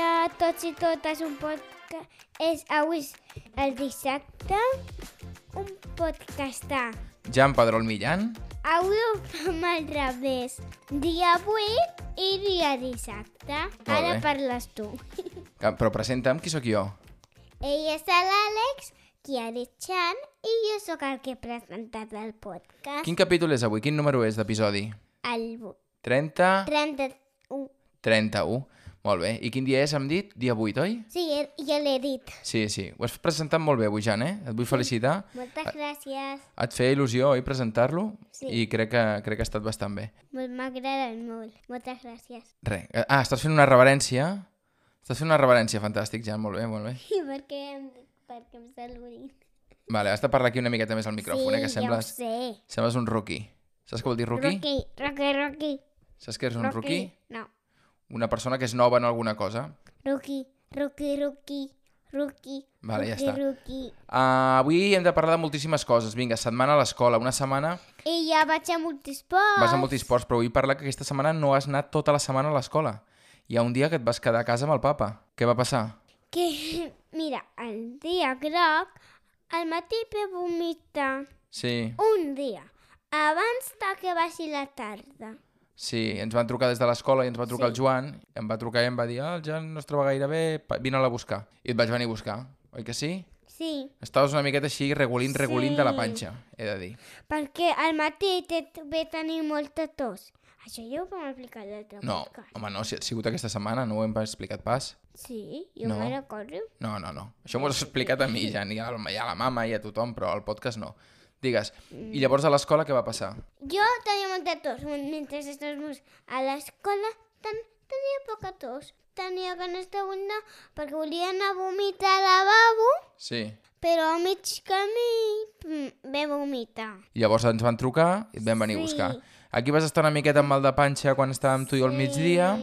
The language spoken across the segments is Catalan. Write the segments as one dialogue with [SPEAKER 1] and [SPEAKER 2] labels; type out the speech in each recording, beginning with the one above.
[SPEAKER 1] a tots i totes un podcast. És avui el dissabte un podcastà.
[SPEAKER 2] Jan Pedrol Millán.
[SPEAKER 1] Avui ho fem al revés. Dia avui i dia dissabte.
[SPEAKER 2] bé.
[SPEAKER 1] Ara parles tu.
[SPEAKER 2] Que, però presenta'm, qui sóc jo?
[SPEAKER 1] Ell és l'Àlex, Kiari Chan, i jo sóc el que he presentat el podcast.
[SPEAKER 2] Quin capítol és avui? Quin número és d'episodi?
[SPEAKER 1] El bu-
[SPEAKER 2] 30...
[SPEAKER 1] 31.
[SPEAKER 2] 31. Molt bé. I quin dia és, hem dit? Dia 8, oi?
[SPEAKER 1] Sí, er- jo l'he dit.
[SPEAKER 2] Sí, sí. Ho has presentat molt bé avui, Jan, eh? Et vull felicitar.
[SPEAKER 1] Moltes gràcies.
[SPEAKER 2] Et feia il·lusió, oi, presentar-lo?
[SPEAKER 1] Sí.
[SPEAKER 2] I crec que, crec que ha estat bastant bé.
[SPEAKER 1] Molt m'agraden molt. Moltes gràcies.
[SPEAKER 2] Re. Ah, estàs fent una reverència? Estàs fent una reverència, fantàstic, Jan. Molt bé, molt bé.
[SPEAKER 1] I per què em, per què em saludin?
[SPEAKER 2] Vale, has de parlar aquí una miqueta més al micròfon, eh? Que sembles,
[SPEAKER 1] ja ho sé.
[SPEAKER 2] sembles un rookie. Saps què vol dir rookie?
[SPEAKER 1] Rocky, Rocky, Rocky.
[SPEAKER 2] Saps què és un rookie?
[SPEAKER 1] No.
[SPEAKER 2] Una persona que és nova en alguna cosa.
[SPEAKER 1] Rocky, Rocky, Rocky, Rocky.
[SPEAKER 2] Vale, ja
[SPEAKER 1] Rocky,
[SPEAKER 2] està.
[SPEAKER 1] Rocky.
[SPEAKER 2] Uh, avui hem de parlar de moltíssimes coses. Vinga, setmana a l'escola. Una setmana
[SPEAKER 1] I ja vaig a multisport.
[SPEAKER 2] vas a multisports, però vull parlar que aquesta setmana no has anat tota la setmana a l'escola. Hi ha un dia que et vas quedar a casa amb el papa. Què va passar?
[SPEAKER 1] Que, mira, el dia groc, al matí per vomitar.
[SPEAKER 2] Sí,
[SPEAKER 1] Un dia, abans de que vagi la tarda.
[SPEAKER 2] sí, ens van trucar des de l'escola i ens va trucar sí. el Joan. Em va trucar i em va dir, ah, el Jan no es troba gaire bé, pa- vine'l a buscar. I et vaig venir a buscar, oi que sí?
[SPEAKER 1] Sí,
[SPEAKER 2] Estaves una miqueta així, regolint, regolint sí. de la
[SPEAKER 1] Sí. Oh
[SPEAKER 2] panxa, he de dir.
[SPEAKER 1] perquè al matí té, ve tenir molta tos. Això ja ho vam explicar l'altre
[SPEAKER 2] No,
[SPEAKER 1] podcast.
[SPEAKER 2] home, no, si ha sigut aquesta setmana, no ho hem explicat pas.
[SPEAKER 1] Sí, jo
[SPEAKER 2] No.
[SPEAKER 1] no. me'n recordo.
[SPEAKER 2] No, no, no. Això m'ho has explicat a mi, ja, ni a la, i a la mama i a tothom, però al podcast no. Digues, i llavors a l'escola què va passar?
[SPEAKER 1] Jo tenia molta tos. Mentre estàvem a l'escola ten tenia poca tos. Tenia ganes de vomitar perquè volia anar a vomitar al lavabo,
[SPEAKER 2] Sí.
[SPEAKER 1] però a mig camí mm, ve vomitar.
[SPEAKER 2] I llavors ens van trucar i et vam venir a
[SPEAKER 1] Sí.
[SPEAKER 2] buscar. Aquí vas estar una miqueta amb mal de panxa quan estàvem tu i jo al migdia,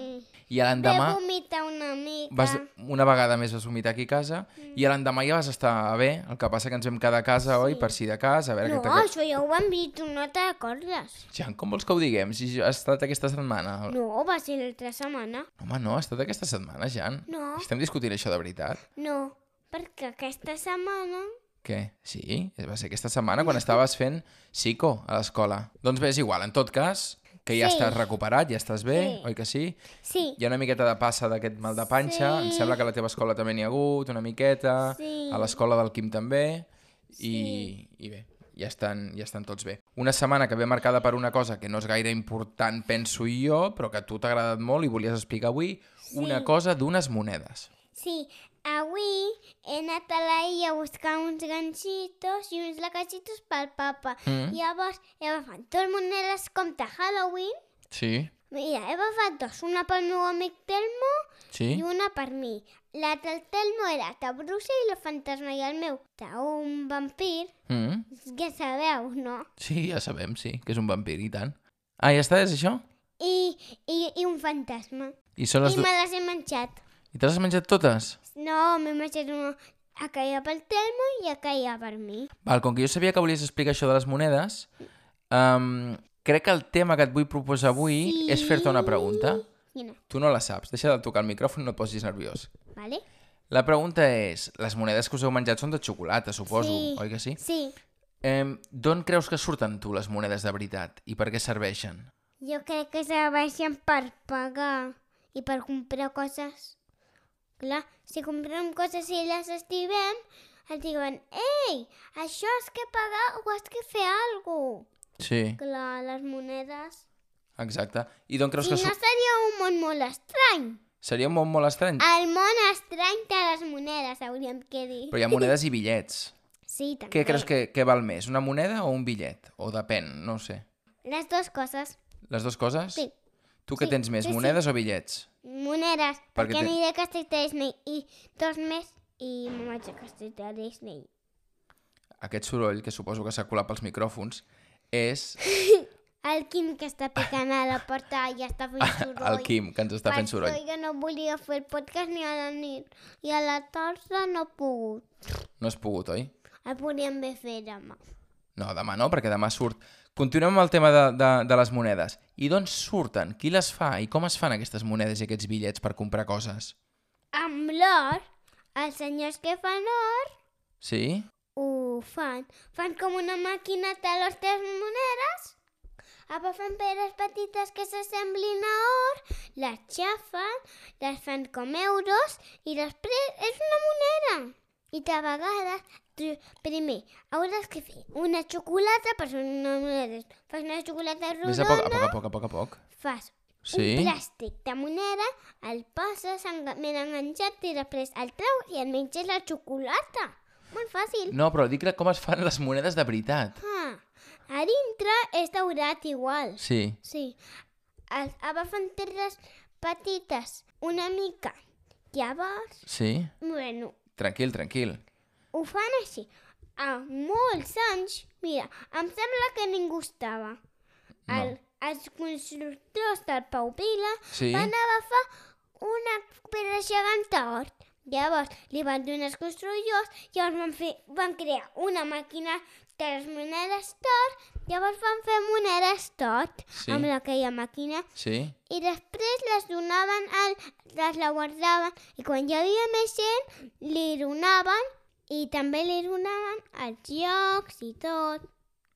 [SPEAKER 2] i a l'endemà
[SPEAKER 1] Ve vomitar Mm, una mica.
[SPEAKER 2] vas, una vegada més vas vomitar aquí a casa, i a l'endemà ja vas estar bé, el que passa que ens vam quedar a casa, oi, per si de cas, a veure
[SPEAKER 1] No,
[SPEAKER 2] què t'ac-
[SPEAKER 1] això ja ho hem dit, tu no t'acordes.
[SPEAKER 2] Jan, com vols que ho diguem, si ha estat aquesta setmana?
[SPEAKER 1] No, va ser l'altra setmana.
[SPEAKER 2] Home, no, ha estat aquesta setmana, Jan.
[SPEAKER 1] No.
[SPEAKER 2] Estem discutint això de veritat?
[SPEAKER 1] No, perquè aquesta setmana...
[SPEAKER 2] Què? Sí, va ser aquesta setmana quan estaves fent psico a l'escola. Doncs bé, és igual, en tot cas, que ja
[SPEAKER 1] Sí.
[SPEAKER 2] estàs recuperat, ja estàs bé,
[SPEAKER 1] Sí.
[SPEAKER 2] oi que sí?
[SPEAKER 1] Sí,
[SPEAKER 2] Hi ha una miqueta de passa d'aquest mal de panxa, em
[SPEAKER 1] Sí.
[SPEAKER 2] sembla que a la teva escola també n'hi ha hagut, una miqueta,
[SPEAKER 1] Sí.
[SPEAKER 2] a l'escola del Quim també, i, i bé, ja estan, ja estan tots bé. Una setmana que ve marcada per una cosa que no és gaire important, penso jo, però que a tu t'ha agradat molt i volies explicar avui, una cosa d'unes monedes.
[SPEAKER 1] Sí, avui he anat a la illa a buscar uns ganxitos i uns lacacitos pel papa. Mm. Llavors he agafat dos monedes com de Halloween.
[SPEAKER 2] Sí.
[SPEAKER 1] Mira, he agafat dos, una pel meu amic Telmo
[SPEAKER 2] Sí?
[SPEAKER 1] i una per mi. La del Telmo era de Bruce i la fantasma i el meu d'un vampir.
[SPEAKER 2] Mm.
[SPEAKER 1] Ja sabeu, no?
[SPEAKER 2] Sí, ja sabem, sí, que és un vampir, i tant. Ah, ja està, és això?
[SPEAKER 1] I, i, i un fantasma.
[SPEAKER 2] I, són les
[SPEAKER 1] I
[SPEAKER 2] du...
[SPEAKER 1] me les he menjat.
[SPEAKER 2] I te les has menjat totes?
[SPEAKER 1] No, m'he menjat una aquella pel Telmo i aquella per mi.
[SPEAKER 2] Val, com que jo sabia que volies explicar això de les monedes, um, crec que el tema que et vull proposar avui sí. és fer-te una pregunta.
[SPEAKER 1] Quina?
[SPEAKER 2] Tu no la saps, deixa de tocar el micròfon, no et posis nerviós.
[SPEAKER 1] Vale?
[SPEAKER 2] La pregunta és, les monedes que us heu menjat són de xocolata, suposo,
[SPEAKER 1] Sí.
[SPEAKER 2] oi que sí?
[SPEAKER 1] Sí,
[SPEAKER 2] Eh, D'on creus que surten tu les monedes de veritat i per què serveixen?
[SPEAKER 1] jo crec que serveixen per pagar i per comprar coses. Clar, si comprem coses i les estimem, et diuen «Ei, això has que pagar o has que fer alguna
[SPEAKER 2] Sí,
[SPEAKER 1] Clar, les monedes...
[SPEAKER 2] exacte. I d'on creus
[SPEAKER 1] Si
[SPEAKER 2] que...
[SPEAKER 1] no
[SPEAKER 2] Sur...
[SPEAKER 1] seria un món molt estrany.
[SPEAKER 2] Seria un món molt estrany,
[SPEAKER 1] El món estrany de les monedes, hauríem que dir.
[SPEAKER 2] però hi ha monedes i bitllets.
[SPEAKER 1] Sí, també.
[SPEAKER 2] Què creus que, que val més, una moneda o un bitllet? O depèn, no ho sé.
[SPEAKER 1] Les dues coses.
[SPEAKER 2] Les dues coses?
[SPEAKER 1] Sí.
[SPEAKER 2] Tu què
[SPEAKER 1] Sí,
[SPEAKER 2] tens més,
[SPEAKER 1] sí, sí.
[SPEAKER 2] monedes o bitllets?
[SPEAKER 1] Monedes, perquè,
[SPEAKER 2] Perquè té-
[SPEAKER 1] aniré a Castell de Disney i dos més i me'n vaig a Castell de Disney.
[SPEAKER 2] Aquest soroll, que suposo que s'ha colat pels micròfons, és
[SPEAKER 1] El Quim que està picant a la porta i està fent soroll.
[SPEAKER 2] el Quim, que ens està fent soroll.
[SPEAKER 1] Per això jo no volia fer el podcast ni a la nit. I a la tarda no he pogut.
[SPEAKER 2] No has pogut, oi?
[SPEAKER 1] El podríem bé fer demà.
[SPEAKER 2] No, demà no, perquè demà surt. Continuem amb el tema de, de, de les monedes. I d'on surten? Qui les fa? I com es fan aquestes monedes i aquests bitllets per comprar coses?
[SPEAKER 1] Amb l'or, els senyors que fan or
[SPEAKER 2] Sí?
[SPEAKER 1] ho fan. Fan com una màquina de les tres monedes, agafen peres petites que s'assemblin a or, les xafen, les fan com euros i després és una moneda. I de vegades, tu, primer, hauràs que fer una xocolata per fer una moneda. Fas una xocolata
[SPEAKER 2] Més a poc, a
[SPEAKER 1] rodona,
[SPEAKER 2] poc a poc, a poc a poc.
[SPEAKER 1] fas
[SPEAKER 2] Sí?
[SPEAKER 1] un plàstic de moneda, el poses enga- ben enganxat i després el treus i et menges la xocolata. Molt fàcil.
[SPEAKER 2] No, però dic com es fan les monedes de veritat.
[SPEAKER 1] Ah, a dintre és daurat igual.
[SPEAKER 2] Sí.
[SPEAKER 1] Sí. Es agafen terres petites, una mica. Llavors,
[SPEAKER 2] Sí?
[SPEAKER 1] bueno,
[SPEAKER 2] Tranquil, tranquil.
[SPEAKER 1] ho fan així. A molts anys, mira, em sembla que ningú estava.
[SPEAKER 2] No.
[SPEAKER 1] El, els constructors del Pau Vila
[SPEAKER 2] Sí?
[SPEAKER 1] van agafar una pedra gegant d'or. Llavors li van donar els construïdors, llavors van, fer, van crear una màquina de les monedes d'or, llavors van fer monedes d'or
[SPEAKER 2] Sí.
[SPEAKER 1] amb aquella màquina
[SPEAKER 2] Sí?
[SPEAKER 1] i després les donaven, al, les la guardaven i quan hi havia més gent li donaven i també li donaven els llocs i tot.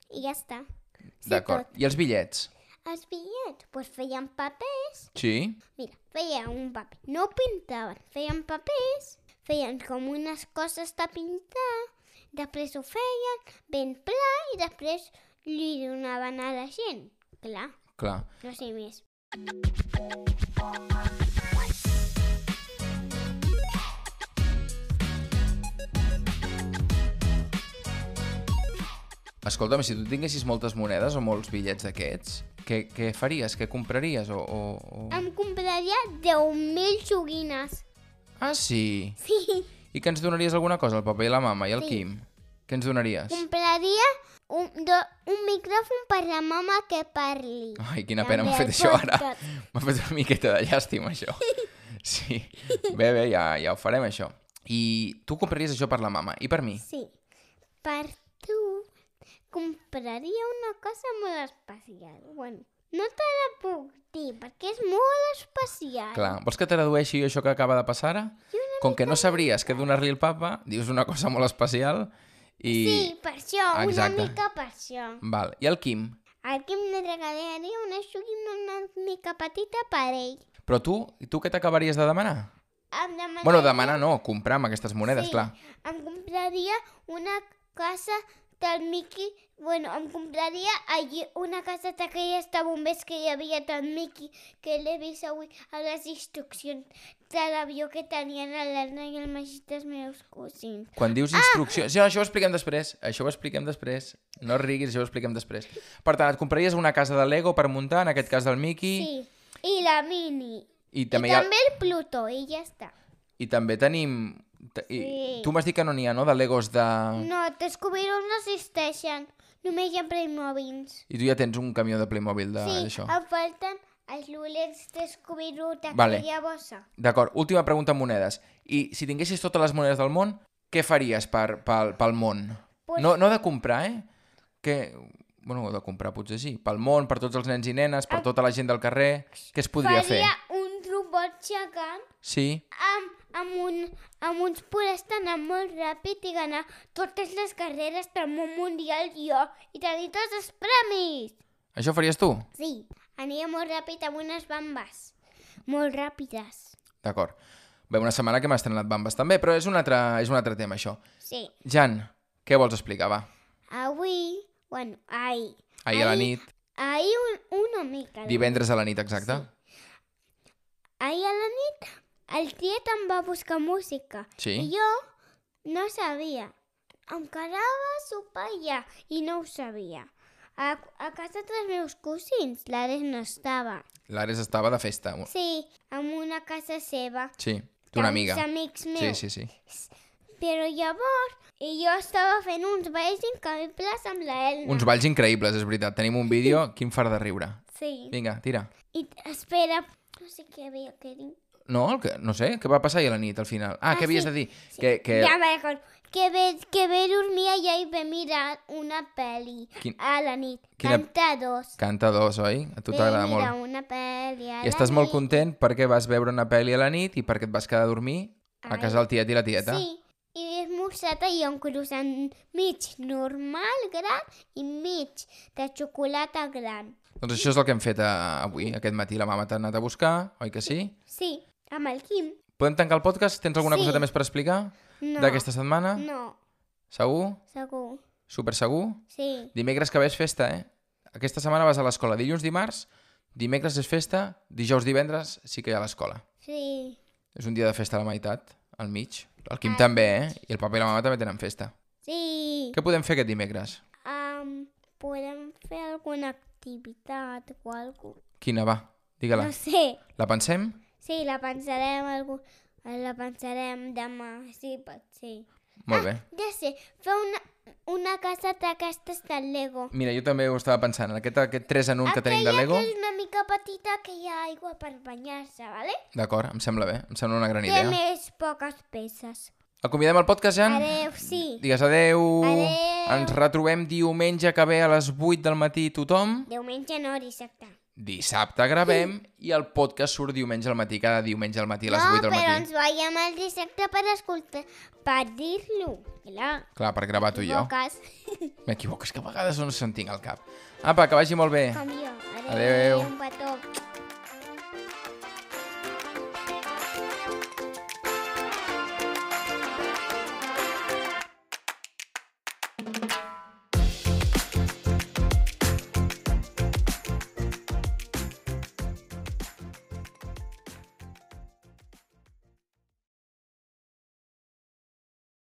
[SPEAKER 1] I ja està. Sí,
[SPEAKER 2] D'acord. I els bitllets?
[SPEAKER 1] tot. Els bitllets, doncs feien papers
[SPEAKER 2] Sí?
[SPEAKER 1] pues Mira, feia un paper. No pintaven, feien papers, feien com unes coses de pintar, després ho feien ben pla i després li donaven a la gent. Clar,
[SPEAKER 2] Clar.
[SPEAKER 1] no sé més.
[SPEAKER 2] Escolta'm, si tu tinguessis moltes monedes o molts bitllets d'aquests, què, què faries? Què compraries? O, o, o...
[SPEAKER 1] Em compraria 10.000 joguines.
[SPEAKER 2] Ah, sí.
[SPEAKER 1] Sí,
[SPEAKER 2] I que ens donaries alguna cosa? El papa i la mama i el
[SPEAKER 1] Sí.
[SPEAKER 2] Quim? Què ens donaries?
[SPEAKER 1] compraria un, do, un micròfon per la mama que parli.
[SPEAKER 2] Ai, quina pena m'ha
[SPEAKER 1] També
[SPEAKER 2] fet
[SPEAKER 1] el
[SPEAKER 2] això ara.
[SPEAKER 1] podcast.
[SPEAKER 2] M'ha fet una miqueta de llàstima, això. Sí. Bé, bé, ja, ja ho farem, això. I tu compraries això per la mama i per mi?
[SPEAKER 1] Sí, per tu compraria una cosa molt especial. Bueno, no te la puc dir perquè és molt especial.
[SPEAKER 2] Clar. Vols que tradueixi jo això que acaba de passar ara? Com que no sabries què donar-li al papa, dius una cosa molt especial i...
[SPEAKER 1] Sí, per això,
[SPEAKER 2] Exacte.
[SPEAKER 1] una mica per això.
[SPEAKER 2] Val. I el Quim?
[SPEAKER 1] El Quim li regalaria una joguina una mica petita per ell.
[SPEAKER 2] Però tu, i tu què t'acabaries de demanar?
[SPEAKER 1] Em demanaria...
[SPEAKER 2] Bueno, demanar no, comprar amb aquestes
[SPEAKER 1] Eh.
[SPEAKER 2] monedes,
[SPEAKER 1] sí,
[SPEAKER 2] clar.
[SPEAKER 1] Em compraria una casa del Mickey... Bueno, em compraria allí una casa d'aquelles de bombers que hi havia del Mickey, que l'he vist avui a les instruccions de l'avió que tenien a l'Anna i el Magí dels meus cosins.
[SPEAKER 2] Quan dius instruccions... Ah! No, això ho expliquem després. Això ho expliquem després. No et riguis, això ho expliquem després. Per tant, et compraries una casa de Lego per muntar, en aquest cas del Mickey,
[SPEAKER 1] Sí, i la Mini.
[SPEAKER 2] i,
[SPEAKER 1] També I
[SPEAKER 2] també, hi Ah.
[SPEAKER 1] també el Pluto, i ja està.
[SPEAKER 2] Ha... i també tenim... te- I...
[SPEAKER 1] Sí.
[SPEAKER 2] Tu m'has dit que no n'hi ha, no?, de Legos de...
[SPEAKER 1] No, descobrir-ho no existeixen. Només hi ha Playmobils.
[SPEAKER 2] I tu ja tens un camió de Playmobil de-
[SPEAKER 1] sí,
[SPEAKER 2] Ah, d'això.
[SPEAKER 1] em falten els lulets descobrir-ho
[SPEAKER 2] Vale.
[SPEAKER 1] d'aquella bossa.
[SPEAKER 2] D'acord, última pregunta en monedes. I si tinguessis totes les monedes del món, què faries per, pel, pel món?
[SPEAKER 1] Pues-
[SPEAKER 2] No, no de comprar, eh? Que... Bueno, de comprar potser sí. Pel món, per tots els nens i nenes, per tota la gent del carrer... Què es podria
[SPEAKER 1] faria
[SPEAKER 2] fer?
[SPEAKER 1] un robot gegant
[SPEAKER 2] Sí?
[SPEAKER 1] amb, amb, un, amb uns poders d'anar molt ràpid i ganar totes les carreres del món mundial jo i tenir tots els premis.
[SPEAKER 2] Això faries tu?
[SPEAKER 1] Sí, aniria molt ràpid amb unes bambes. Molt ràpides.
[SPEAKER 2] D'acord. Bé, una setmana que hem estrenat bambes també, però és un altre, és un altre tema, això.
[SPEAKER 1] Sí.
[SPEAKER 2] Jan, què vols explicar, va?
[SPEAKER 1] Avui, bueno, ahir.
[SPEAKER 2] Ahir a la nit,
[SPEAKER 1] Ahir un, una mica. de-
[SPEAKER 2] divendres a la nit, exacte.
[SPEAKER 1] Ahir a la nit el tiet em va buscar música.
[SPEAKER 2] Sí.
[SPEAKER 1] I jo no sabia. Em quedava a sopar allà i no ho sabia. A, a casa dels meus cosins l'Ares no estava.
[SPEAKER 2] L'Ares estava de festa.
[SPEAKER 1] Sí, en una casa seva.
[SPEAKER 2] Sí, d'una amiga.
[SPEAKER 1] Dels amics
[SPEAKER 2] Sí,
[SPEAKER 1] meus.
[SPEAKER 2] sí, sí.
[SPEAKER 1] Però llavors i jo estava fent uns balls increïbles amb l'Elna.
[SPEAKER 2] Uns balls increïbles, és veritat. Tenim un vídeo, quin far de riure.
[SPEAKER 1] Sí.
[SPEAKER 2] Vinga, tira.
[SPEAKER 1] I espera, no sé què havia que dir.
[SPEAKER 2] No, el que, no sé, què va passar ahir a la nit, al final? Ah,
[SPEAKER 1] Ah,
[SPEAKER 2] què havies
[SPEAKER 1] sí,
[SPEAKER 2] de dir? Que, que...
[SPEAKER 1] Ya me acuerdo. Que ve, que ve dormir allà i ve mirar una peli
[SPEAKER 2] Quin-
[SPEAKER 1] a la nit.
[SPEAKER 2] quina-
[SPEAKER 1] Canta dos.
[SPEAKER 2] Canta dos, oi? A tu
[SPEAKER 1] Ve
[SPEAKER 2] t'agrada
[SPEAKER 1] mirar
[SPEAKER 2] molt.
[SPEAKER 1] una peli a
[SPEAKER 2] I estàs
[SPEAKER 1] la
[SPEAKER 2] molt
[SPEAKER 1] nit.
[SPEAKER 2] content perquè vas veure una pel·li a la nit i perquè et vas quedar a dormir a
[SPEAKER 1] Ai.
[SPEAKER 2] casa del tiet i la tieta.
[SPEAKER 1] Ah. Sí, i he esmorzat ahir un croissant mig normal gran i mig de xocolata gran.
[SPEAKER 2] Doncs això és el que hem fet eh, avui. Aquest matí la mama t'ha anat a buscar, oi que sí?
[SPEAKER 1] Sí, amb el Quim.
[SPEAKER 2] Podem tancar el podcast? Tens alguna
[SPEAKER 1] Sí.
[SPEAKER 2] coseta més per explicar
[SPEAKER 1] No.
[SPEAKER 2] d'aquesta setmana?
[SPEAKER 1] No,
[SPEAKER 2] Segur?
[SPEAKER 1] segur.
[SPEAKER 2] Super segur?
[SPEAKER 1] Sí.
[SPEAKER 2] Dimecres que ve és festa, eh? Aquesta setmana vas a l'escola dilluns, dimarts, dimecres és festa, dijous, divendres sí que hi ha l'escola.
[SPEAKER 1] Sí.
[SPEAKER 2] És un dia de festa a la meitat, al mig. El Quim
[SPEAKER 1] Ah,
[SPEAKER 2] també, eh? I el papa i la mama també tenen festa.
[SPEAKER 1] Sí.
[SPEAKER 2] Què podem fer aquest dimecres?
[SPEAKER 1] Um, podem fer alguna activitat o alguna
[SPEAKER 2] Quina va? Digue-la.
[SPEAKER 1] No sé.
[SPEAKER 2] La pensem?
[SPEAKER 1] Sí, la pensarem algú... La pensarem demà, sí, pot ser.
[SPEAKER 2] Molt bé.
[SPEAKER 1] Ja sé, fer una, una casa d'aquestes de Lego.
[SPEAKER 2] Mira, jo també ho estava pensant. en Aquest, aquest 3 en 1 que tenim de
[SPEAKER 1] Aquella
[SPEAKER 2] Lego...
[SPEAKER 1] que és una mica petita que hi ha aigua per banyar-se, vale?
[SPEAKER 2] D'acord, em sembla bé. Em sembla una gran
[SPEAKER 1] Té
[SPEAKER 2] idea.
[SPEAKER 1] més poques peces.
[SPEAKER 2] Acomiadem el podcast, Jan?
[SPEAKER 1] Adeu, sí.
[SPEAKER 2] Digues adeu.
[SPEAKER 1] Adeu.
[SPEAKER 2] Ens retrobem diumenge que ve a les 8 del matí tothom.
[SPEAKER 1] Diumenge no, dissabte.
[SPEAKER 2] Dissabte gravem i el podcast surt diumenge al matí, cada diumenge al matí a les
[SPEAKER 1] no,
[SPEAKER 2] 8 del
[SPEAKER 1] però
[SPEAKER 2] matí.
[SPEAKER 1] ens veiem el dissabte per escoltar, per dir-lo. Clar,
[SPEAKER 2] Clar, per gravar tu i jo.
[SPEAKER 1] boques,
[SPEAKER 2] M'equivoques, que a vegades no se'n tinc al cap. Apa, que vagi molt bé.
[SPEAKER 1] com jo. Adeu,
[SPEAKER 2] Adeu.
[SPEAKER 1] un petó.